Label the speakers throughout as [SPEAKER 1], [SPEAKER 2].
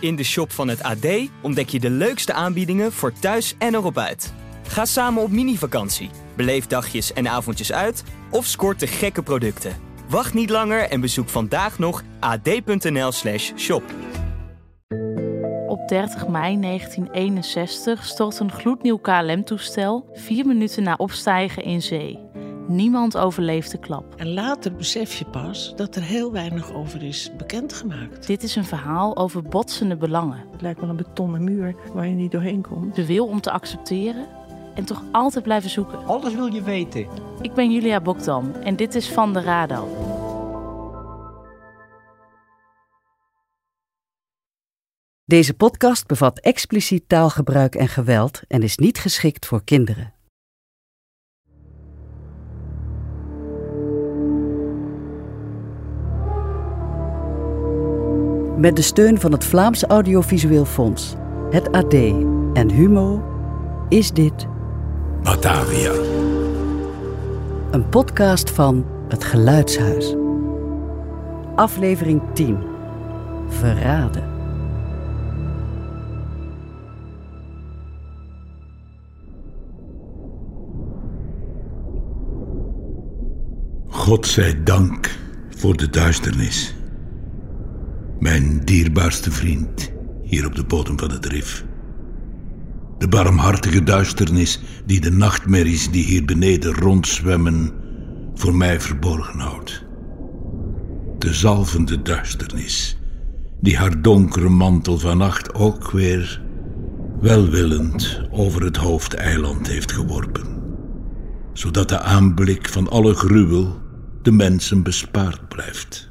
[SPEAKER 1] In de shop van het AD ontdek je de leukste aanbiedingen voor thuis en erop uit. Ga samen op mini-vakantie, beleef dagjes en avondjes uit of scoort de gekke producten. Wacht niet langer en bezoek vandaag nog ad.nl/slash shop.
[SPEAKER 2] Op 30 mei 1961 stort een gloednieuw KLM-toestel vier minuten na opstijgen in zee. Niemand overleeft de klap.
[SPEAKER 3] En later besef je pas dat er heel weinig over is bekendgemaakt.
[SPEAKER 2] Dit is een verhaal over botsende belangen.
[SPEAKER 4] Het lijkt wel een betonnen muur waar je niet doorheen komt.
[SPEAKER 2] De wil om te accepteren en toch altijd blijven zoeken.
[SPEAKER 5] Alles wil je weten.
[SPEAKER 2] Ik ben Julia Bokdam en dit is Van de Radar.
[SPEAKER 6] Deze podcast bevat expliciet taalgebruik en geweld en is niet geschikt voor kinderen. Met de steun van het Vlaams Audiovisueel Fonds, het AD en Humo is dit
[SPEAKER 7] Batavia.
[SPEAKER 6] een podcast van Het Geluidshuis. Aflevering 10. Verraden.
[SPEAKER 7] God zij dank voor de duisternis. Mijn dierbaarste vriend hier op de bodem van het rif. De barmhartige duisternis die de nachtmerries die hier beneden rondzwemmen voor mij verborgen houdt. De zalvende duisternis die haar donkere mantel vannacht ook weer welwillend over het hoofdeiland heeft geworpen zodat de aanblik van alle gruwel de mensen bespaard blijft.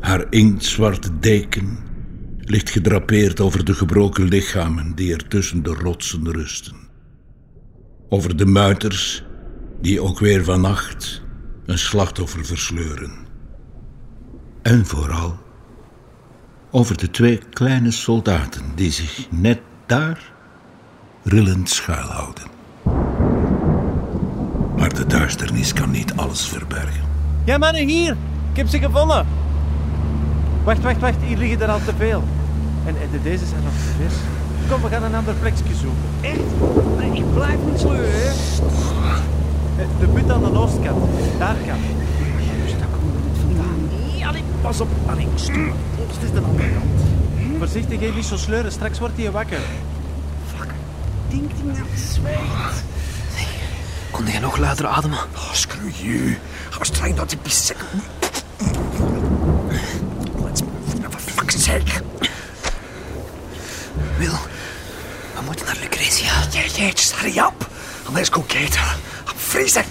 [SPEAKER 7] Haar inktzwarte deken ligt gedrapeerd over de gebroken lichamen die er tussen de rotsen rusten. Over de muiters die ook weer vannacht een slachtoffer versleuren. En vooral over de twee kleine soldaten die zich net daar rillend schuilhouden. Maar de duisternis kan niet alles verbergen.
[SPEAKER 5] Ja, mannen, hier! Ik heb ze gevonden! Wacht, wacht, wacht, hier liggen er al te veel. En, en de- deze zijn nog te vers. Kom, we gaan een ander plekje zoeken. Echt? Nee, ik blijf niet sleuren, hè? Eh, De put aan de oostkant, daar kan. Juist, Dus daar komen we niet vandaan. Ja, nee, pas op, Allee, stoer. Het is de andere kant. Voorzichtig, hè, niet zo sleuren, straks wordt hij wakker.
[SPEAKER 3] Ding, ding, ding, zweet.
[SPEAKER 8] Kon jij nog luider ademen? Oh, screw you. How streng dat die piece. Let's move now, for fuck's sake. Wil, we moeten naar Lucretia. Yeah, yeah, just hurry up. And let's go get her. I'm freezing.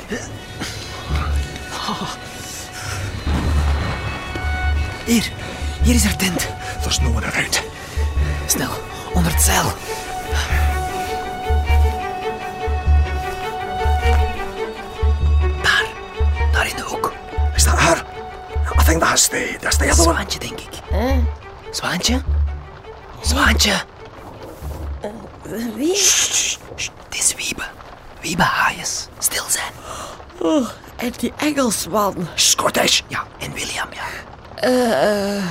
[SPEAKER 8] Oh. Hier, hier is haar tent. There's no one around. Snel, onder het zeil. Daar, daar in de hoek. Is dat haar? I think that's the, that's the other one. Zwaantje, denk ik. Zwaantje? Zwaantje.
[SPEAKER 9] Eh,
[SPEAKER 8] wie? Het is Wiebe. Wiebe Haaies. Stil zijn.
[SPEAKER 9] Oeh, Oh, en die Engelsman.
[SPEAKER 8] Scottish. Ja, en William, ja.
[SPEAKER 9] Eh,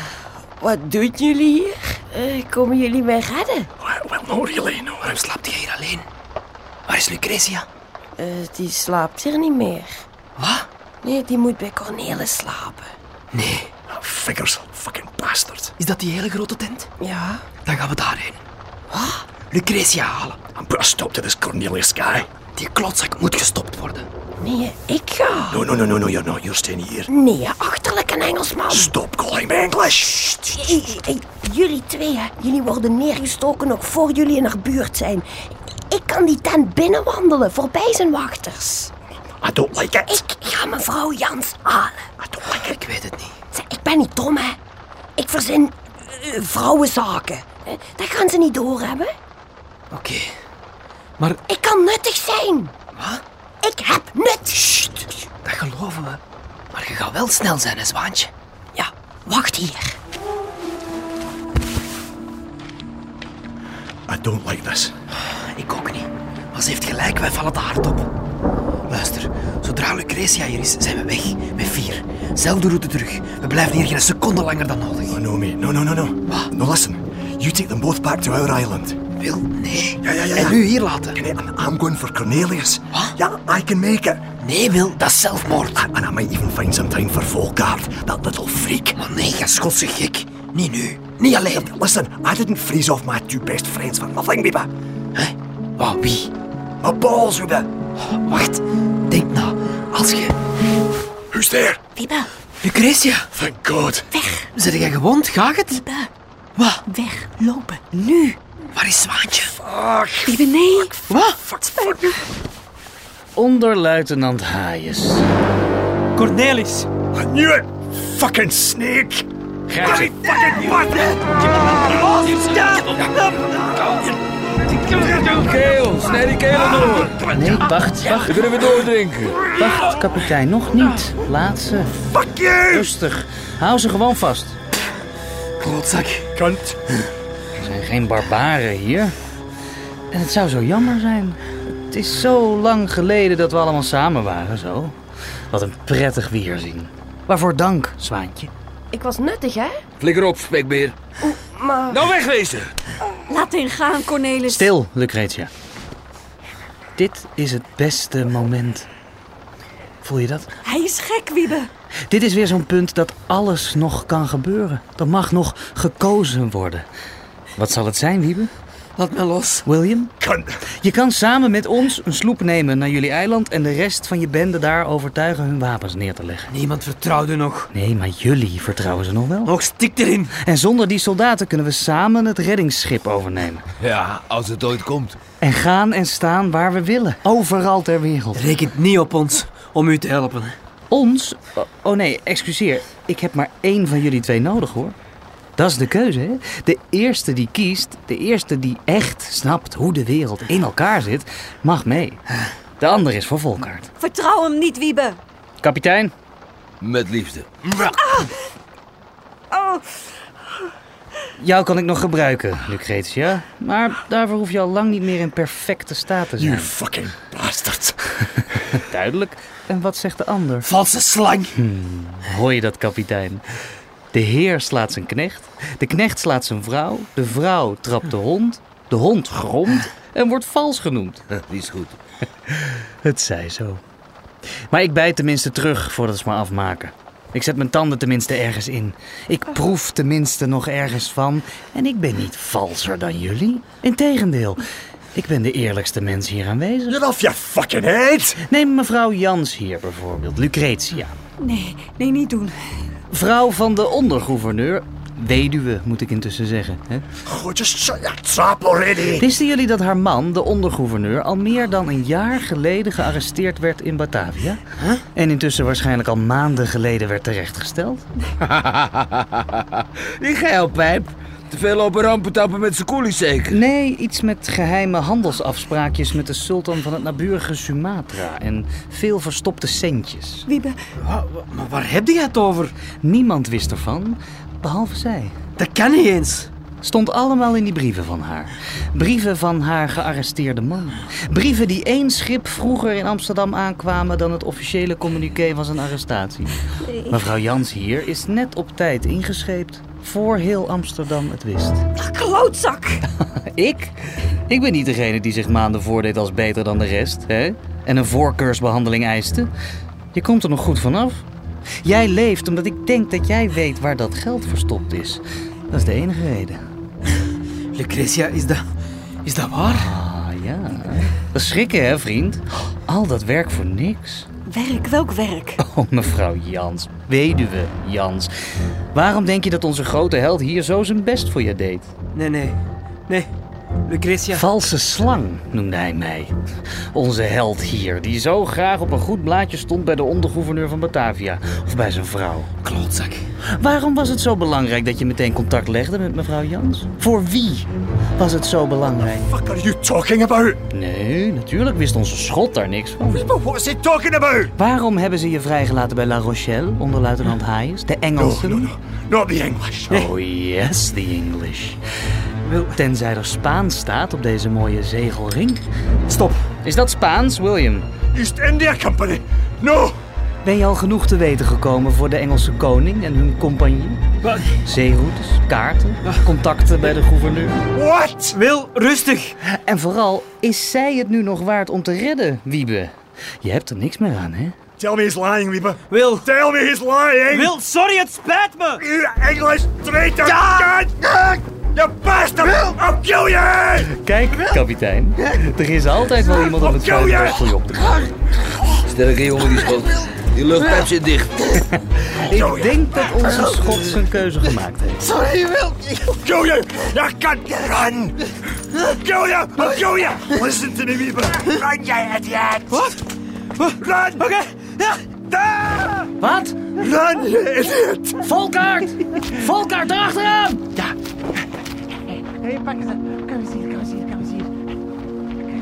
[SPEAKER 9] wat doen jullie hier? Eh, komen jullie mij redden?
[SPEAKER 8] Wel, no, really, no. Waarom slaapt jij hier alleen? Waar is Lucretia?
[SPEAKER 9] Eh, die slaapt hier niet meer.
[SPEAKER 8] Wat?
[SPEAKER 9] Nee, die moet bij Cornelis slapen.
[SPEAKER 8] Nee. Oh, figures, fucking bastard. Is dat die hele grote tent?
[SPEAKER 9] Ja?
[SPEAKER 8] Dan gaan we daarheen. Lucretia halen. I'm stop to this Cornelius guy. Die klotzak moet gestopt worden.
[SPEAKER 9] Nee, ik ga.
[SPEAKER 8] No, no, no, no, no, you're not. You're staying here.
[SPEAKER 9] Nee, achterlijk een Engelsman.
[SPEAKER 8] Stop calling me English.
[SPEAKER 9] Hey, hey, hey, jullie twee, hè, jullie worden neergestoken nog voor jullie in haar buurt zijn. Ik kan die tent binnenwandelen, voorbij zijn wachters.
[SPEAKER 8] I don't like it.
[SPEAKER 9] Ik ga mevrouw Jans halen.
[SPEAKER 8] I don't like it. Ik weet het niet.
[SPEAKER 9] Zeg, ik ben niet dom, hè. Ik verzin eh, vrouwenzaken. Eh, Dat gaan ze niet doorhebben.
[SPEAKER 8] Oké. Maar
[SPEAKER 9] Ik kan nuttig zijn.
[SPEAKER 8] wat?
[SPEAKER 9] Ik heb nut.
[SPEAKER 8] Dat geloven we. Maar je gaat wel snel zijn, hè, Zwaantje.
[SPEAKER 9] Ja, wacht hier.
[SPEAKER 8] I don't like this. Ik ook niet. Maar ze heeft gelijk, wij vallen te hard op. Luister, zodra Zodra Lucretia hier is, zijn we weg. Met vier. Zelfde route terug. We blijven hier geen seconde langer dan nodig.
[SPEAKER 10] Oh, no, mate. No, no, no, no. No, listen. You take them both back to our island.
[SPEAKER 8] Wil? Nee.
[SPEAKER 10] Ja, ja, ja.
[SPEAKER 8] En
[SPEAKER 10] ja.
[SPEAKER 8] nu hier laten?
[SPEAKER 10] Can I, and I'm going for Cornelius. Yeah, I can make it.
[SPEAKER 8] Nee, Wil, dat is zelfmoord.
[SPEAKER 10] And I might even find some time for Volkart, that little freak.
[SPEAKER 8] Maar nee, je Schotse gek. Niet nu. Niet alleen.
[SPEAKER 10] Listen, I didn't freeze off my two best friends for nothing, Biba.
[SPEAKER 8] Hè? Wat, wie?
[SPEAKER 10] My balls, Biba.
[SPEAKER 8] Wacht. Denk na. Als je...
[SPEAKER 10] Who's there?
[SPEAKER 9] Biba,
[SPEAKER 8] Lucretia,
[SPEAKER 10] Thank God.
[SPEAKER 9] weg,
[SPEAKER 8] zit jij gewond? Gaat het?
[SPEAKER 9] Biba,
[SPEAKER 8] Wat?
[SPEAKER 9] weg, lopen, nu.
[SPEAKER 8] Waar is Zwaantje?
[SPEAKER 9] Biba, nee.
[SPEAKER 8] Wat?
[SPEAKER 11] Onder luitenant Hayes.
[SPEAKER 5] Cornelis!
[SPEAKER 10] I knew it. Fucking snake.
[SPEAKER 11] Grijp ze.
[SPEAKER 10] fucking
[SPEAKER 11] Keel, snij die
[SPEAKER 10] Ah.
[SPEAKER 11] keel door. Nee, wacht, wacht. We kunnen weer doordrinken. Wacht, kapitein, nog niet. Laat ze.
[SPEAKER 10] Fuck you.
[SPEAKER 11] Rustig. Hou ze gewoon vast.
[SPEAKER 8] Klootzak.
[SPEAKER 10] Cunt.
[SPEAKER 11] Er zijn geen barbaren hier. En het zou zo jammer zijn. Het is zo lang geleden dat we allemaal samen waren, zo. Wat een prettig weerzien. Waarvoor dank, zwaantje.
[SPEAKER 9] Ik was nuttig, hè?
[SPEAKER 11] Flikker op, spekbeer.
[SPEAKER 9] Maar
[SPEAKER 11] Nou wegwezen!
[SPEAKER 12] Laat hen gaan, Cornelis.
[SPEAKER 11] Stil, Lucretia. Dit is het beste moment. Voel je dat?
[SPEAKER 12] Hij is gek, Wiebe.
[SPEAKER 11] Dit is weer zo'n punt dat alles nog kan gebeuren. Dat mag nog gekozen worden. Wat zal het zijn, Wiebe?
[SPEAKER 8] Laat me los.
[SPEAKER 11] William?
[SPEAKER 10] Cunt.
[SPEAKER 11] Je kan samen met ons een sloep nemen naar jullie eiland en de rest van je bende daar overtuigen hun wapens neer te leggen.
[SPEAKER 8] Niemand vertrouwde nog.
[SPEAKER 11] Nee, maar jullie vertrouwen ze nog wel.
[SPEAKER 8] Nog stik erin.
[SPEAKER 11] En zonder die soldaten kunnen we samen het reddingsschip overnemen.
[SPEAKER 13] Ja, als het ooit komt.
[SPEAKER 11] En gaan en staan waar we willen. Overal ter wereld.
[SPEAKER 8] Rekent niet op ons om u te helpen.
[SPEAKER 11] Ons? Oh, Oh nee, excuseer. Ik heb maar één van jullie twee nodig hoor. Dat is de keuze, hè? De eerste die kiest, de eerste die echt snapt hoe de wereld in elkaar zit, mag mee. De ander is voor Volkaart.
[SPEAKER 12] Vertrouw hem niet, Wiebe.
[SPEAKER 11] Kapitein?
[SPEAKER 13] Met liefde.
[SPEAKER 12] Oh,
[SPEAKER 11] Jou kan ik nog gebruiken, Lucretia. Maar daarvoor hoef je al lang niet meer in perfecte staat te
[SPEAKER 10] You
[SPEAKER 11] zijn.
[SPEAKER 10] fucking bastard.
[SPEAKER 11] Duidelijk. En wat zegt de ander?
[SPEAKER 8] Valse slang.
[SPEAKER 11] Hmm, Hoor je dat, kapitein? De heer slaat zijn knecht, de knecht slaat zijn vrouw, de vrouw trapt de hond, de hond gromt en wordt vals genoemd.
[SPEAKER 13] Die is goed.
[SPEAKER 11] Het zij zo. Maar ik bijt tenminste terug voordat ze me afmaken. Ik zet mijn tanden tenminste ergens in. Ik proef tenminste nog ergens van. En ik ben niet valser dan jullie. Integendeel, ik ben de eerlijkste mens hier aanwezig.
[SPEAKER 10] Get off your fucking head.
[SPEAKER 11] Neem mevrouw Jans hier bijvoorbeeld, Lucretia.
[SPEAKER 12] nee, nee, niet doen.
[SPEAKER 11] Vrouw van de ondergouverneur. Weduwe, moet ik intussen zeggen. Hè?
[SPEAKER 10] Oh, just shut your trap already.
[SPEAKER 11] Wisten jullie dat haar man, de ondergouverneur, al meer dan een jaar geleden gearresteerd werd in Batavia? En intussen waarschijnlijk al maanden geleden werd terechtgesteld?
[SPEAKER 13] die geilpijp. Te veel lopen rampen tappen met zijn koelies zeker.
[SPEAKER 11] Nee, iets met geheime handelsafspraakjes met de sultan van het naburige Sumatra en veel verstopte centjes.
[SPEAKER 12] Wiebe,
[SPEAKER 8] Maar waar heb je het over?
[SPEAKER 11] Niemand wist ervan, behalve zij.
[SPEAKER 8] Dat kan niet eens.
[SPEAKER 11] Stond allemaal in die brieven van haar. Brieven van haar gearresteerde man. Brieven die één schip vroeger in Amsterdam aankwamen dan het officiële communiqué van zijn arrestatie. Mevrouw Jans hier is net op tijd ingescheept. Voor heel Amsterdam het wist.
[SPEAKER 12] klootzak.
[SPEAKER 11] Ik? Ik ben niet degene die zich maanden voordeed als beter dan de rest, hè? En een voorkeursbehandeling eiste. Je komt er nog goed vanaf. Jij leeft omdat ik denk dat jij weet waar dat geld verstopt is. Dat is de enige reden.
[SPEAKER 8] Lucretia, is dat... Is dat waar?
[SPEAKER 11] Ah ja. Dat is schrikken, hè, vriend? Al dat werk voor niks.
[SPEAKER 12] Werk, welk werk?
[SPEAKER 11] Oh, mevrouw Jans. Weduwe Jans. Waarom denk je dat onze grote held hier zo zijn best voor je deed?
[SPEAKER 8] Nee, nee. Nee. Lucretia.
[SPEAKER 11] Valse slang, noemde hij mij. Onze held hier, die zo graag op een goed blaadje stond bij de ondergouverneur van Batavia. Of bij zijn vrouw.
[SPEAKER 8] Klootzak.
[SPEAKER 11] Waarom was het zo belangrijk dat je meteen contact legde met mevrouw Jans? Voor wie was het zo belangrijk?
[SPEAKER 10] Fuck are you talking about?
[SPEAKER 11] Nee, natuurlijk wist onze schot daar niks van.
[SPEAKER 10] But what's he talking about?
[SPEAKER 11] Waarom hebben ze je vrijgelaten bij La Rochelle onder luitenant Hayes, de
[SPEAKER 10] No,
[SPEAKER 11] Engelsen?
[SPEAKER 10] no, no. Not the English.
[SPEAKER 11] Oh yes, the English. Tenzij er Spaans staat op deze mooie zegelring.
[SPEAKER 8] Stop.
[SPEAKER 11] Is dat Spaans, William?
[SPEAKER 10] East India Company.
[SPEAKER 8] No! Ben je al genoeg te weten gekomen voor de Engelse koning en hun compagnie? Wat? Zeeroutes, kaarten, contacten bij de gouverneur.
[SPEAKER 1] What?
[SPEAKER 8] Wil rustig! En vooral, is zij het nu nog waard om te redden, Wiebe? Je hebt er niks meer aan, hè?
[SPEAKER 1] Tell me he's lying, Wiebe.
[SPEAKER 8] Wil!
[SPEAKER 1] Tell me he's lying!
[SPEAKER 8] Wil,
[SPEAKER 5] sorry, het spijt me!
[SPEAKER 1] You English traitor!
[SPEAKER 5] Ja!
[SPEAKER 1] God! You bastard! Wil! I'll kill you!
[SPEAKER 8] Kijk, kapitein. Er is altijd wel iemand op het
[SPEAKER 1] Wil je?
[SPEAKER 8] vuile voor je op te gaan.
[SPEAKER 14] Sterke jongen die schoot. Die luchtpijp zit dicht.
[SPEAKER 8] Ik denk dat onze schot zijn keuze gemaakt heeft.
[SPEAKER 1] Sorry, Will. Kill you. You can't run. Kill you. I'll kill you. Listen to me, people. Run, you idiot. What? Run. Okay.
[SPEAKER 8] Wat?
[SPEAKER 1] Run, you idiot.
[SPEAKER 8] Volkaart! Volkaart, erachteraan! Ja.
[SPEAKER 5] Hé, hey, pak eens aan. Kom eens hier, kom eens hier, kom eens hier.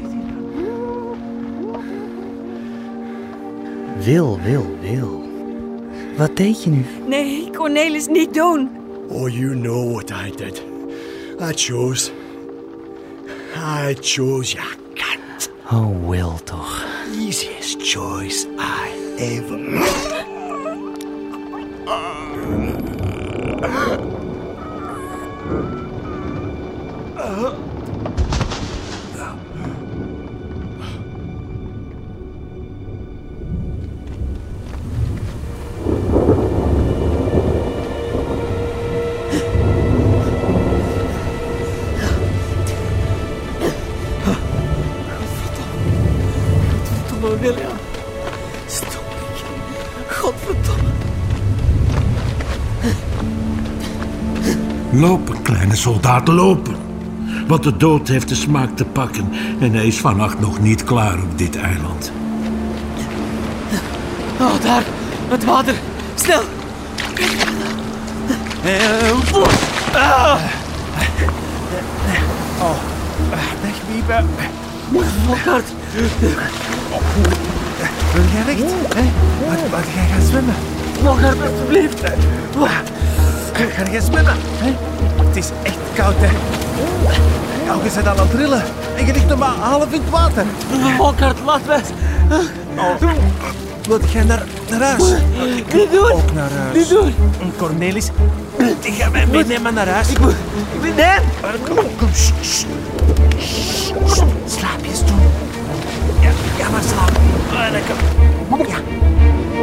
[SPEAKER 8] Wil, Wil, Wil. Wat deed je nu?
[SPEAKER 15] Nee, Cornelis, niet doen.
[SPEAKER 16] Oh, you know what I did. I chose. I chose you.
[SPEAKER 8] Oh, Will toch.
[SPEAKER 16] Easiest choice I ever made.
[SPEAKER 5] Godverdomme, William. Stop ik. Godverdomme.
[SPEAKER 7] Lopen, kleine soldaat, lopen. Want de dood heeft de smaak te pakken en hij is vannacht nog niet klaar op dit eiland.
[SPEAKER 5] Oh, daar. Het water. Snel. Eh, oeh. Ah. Oh. Weg, Wiebe. Volkert. Wil jij recht? Hè? Wat, wat, jij gaat zwemmen. Volkert, alsjeblieft. Oeh. Ga jij zwemmen? Hè? Het is echt koud, hè. Elke zit al aan het trillen. En je ligt nog maar half in het water. Volkert, laat me. Wilt jij naar, naar huis? Niet doen! Ook naar huis. Niet doen! Cornelis, die gaat mij meenemen naar huis. Ik moet... Ik ben Nee! Kom, kom. sst, sst. Sst, Slaap je stoel. Ja, ja maar slaap. Ah, Lekker. Ja.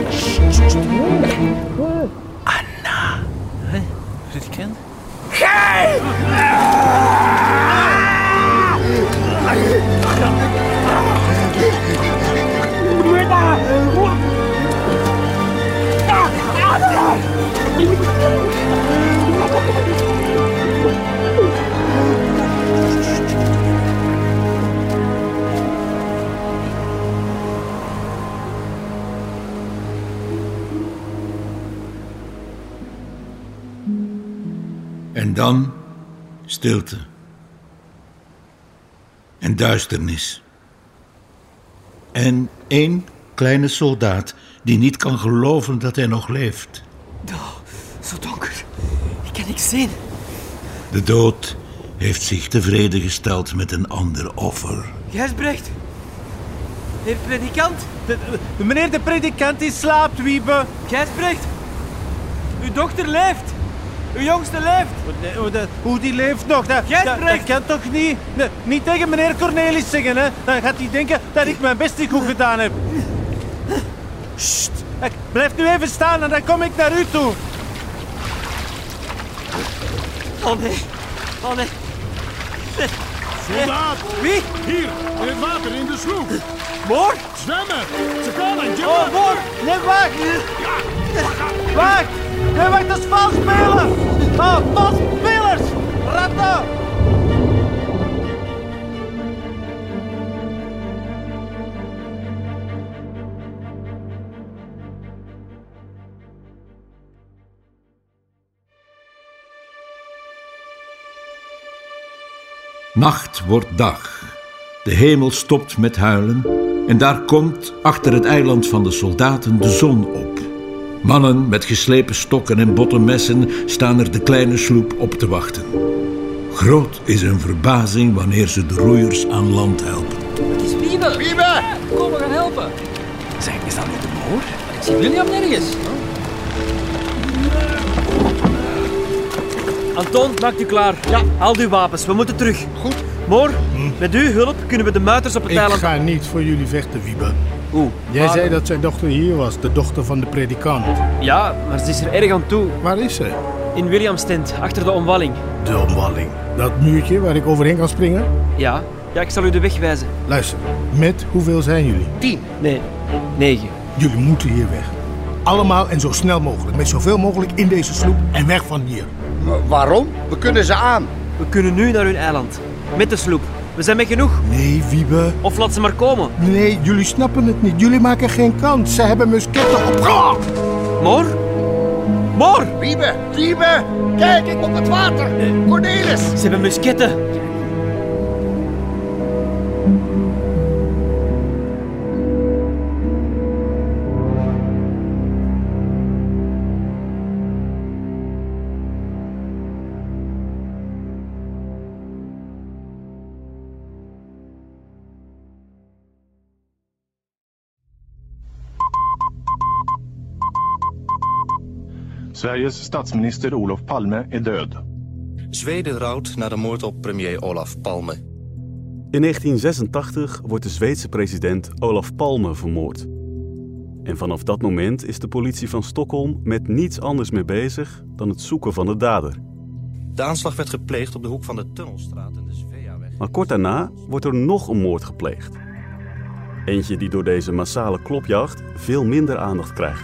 [SPEAKER 5] Sst, sst, sst. Anna. Hé, is het kind? Gij!
[SPEAKER 7] En dan stilte. En duisternis. En één kleine soldaat die niet kan geloven dat hij nog leeft.
[SPEAKER 5] Zo donker. Ik kan niks zien.
[SPEAKER 7] De dood heeft zich tevreden gesteld met een ander offer.
[SPEAKER 5] Gijsbrecht. Heer predikant. De, de- meneer de predikant die slaapt, Wiebe. Gijsbrecht. Uw dochter leeft. Uw jongste leeft. oh, Hoe, die leeft nog? Dat, dat, dat kan toch niet? Nee, niet tegen meneer Cornelis zeggen, hè? Dan gaat hij denken dat ik mijn best niet goed gedaan heb. Sst. Ik blijf nu even staan en dan kom ik naar u toe.
[SPEAKER 17] Oh nee. Oh nee.
[SPEAKER 5] Soldaat! Wie?
[SPEAKER 17] Hier, in het water, in de sloep.
[SPEAKER 5] Moord?
[SPEAKER 17] Zwemmen! Ze kan het, jongen!
[SPEAKER 5] Oh, moord! Nee, wacht! Wacht! Nee, wacht, dat is vals spelen! Oh, vals spelers! Ratten!
[SPEAKER 7] Nacht wordt dag. De hemel stopt met huilen. En daar komt, achter het eiland van de soldaten, de zon op. Mannen met geslepen stokken en botten messen staan er de kleine sloep op te wachten. Groot is hun verbazing wanneer ze de roeiers aan land helpen.
[SPEAKER 17] Het is Wiebe! Wiebe! Kom, we gaan helpen!
[SPEAKER 18] Zeg, is dat niet de moor?
[SPEAKER 19] Ik zie William nergens.
[SPEAKER 20] Anton, maakt u klaar. Ja. Haal uw wapens, we moeten terug. Goed. Moor, met uw hulp kunnen we de muiters op het
[SPEAKER 7] Hm. Ik
[SPEAKER 20] eiland...
[SPEAKER 7] ga niet voor jullie vechten, Wiebe.
[SPEAKER 20] Oeh.
[SPEAKER 7] Jij
[SPEAKER 20] maar-
[SPEAKER 7] zei dat zijn dochter hier was, de dochter van de predikant.
[SPEAKER 20] Ja, maar ze is er erg aan toe.
[SPEAKER 7] Waar is ze?
[SPEAKER 20] In Williams tent, achter de omwalling.
[SPEAKER 7] De omwalling. Dat muurtje waar ik overheen kan springen?
[SPEAKER 20] Ja. Ja, ik zal u de weg wijzen.
[SPEAKER 7] Luister, met hoeveel zijn jullie?
[SPEAKER 20] Tien. Nee, negen.
[SPEAKER 7] Jullie moeten hier weg. Allemaal en zo snel mogelijk. Met zoveel mogelijk in deze sloep en weg van hier.
[SPEAKER 20] Waarom? We kunnen ze aan. We kunnen nu naar hun eiland. Met de sloep. We zijn met genoeg.
[SPEAKER 7] Nee, Wiebe.
[SPEAKER 20] Of laat ze maar komen.
[SPEAKER 7] Nee, jullie snappen het niet. Jullie maken geen kans. Ze hebben musketten op.
[SPEAKER 20] Moor? Moor!
[SPEAKER 21] Wiebe, Wiebe, kijk, ik op het water. Cornelis.
[SPEAKER 20] Ze hebben musketten.
[SPEAKER 22] Sveriges statsminister Olof Palme är död.
[SPEAKER 23] Zweden rouwt na de moord op premier Olaf Palme.
[SPEAKER 5] In 1986 wordt de Zweedse president Olaf Palme vermoord. En vanaf dat moment is de politie van Stockholm met niets anders meer bezig dan het zoeken van de dader.
[SPEAKER 23] De aanslag werd gepleegd op de hoek van de Tunnelstraat en de Sveaweg.
[SPEAKER 5] Maar kort daarna wordt er nog een moord gepleegd. Eentje die door deze massale klopjacht veel minder aandacht krijgt.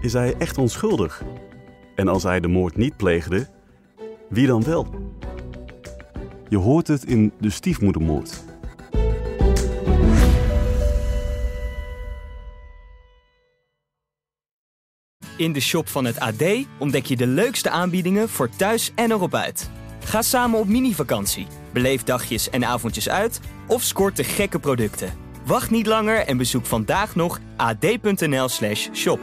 [SPEAKER 5] Is hij echt onschuldig? En als hij de moord niet pleegde, wie dan wel? Je hoort het in De Stiefmoedermoord.
[SPEAKER 1] In de shop van het AD ontdek je de leukste aanbiedingen voor thuis en erop uit. Ga samen op mini-vakantie, beleef dagjes en avondjes uit of scoort de gekke producten. Wacht niet langer en bezoek vandaag nog ad.nl/shop.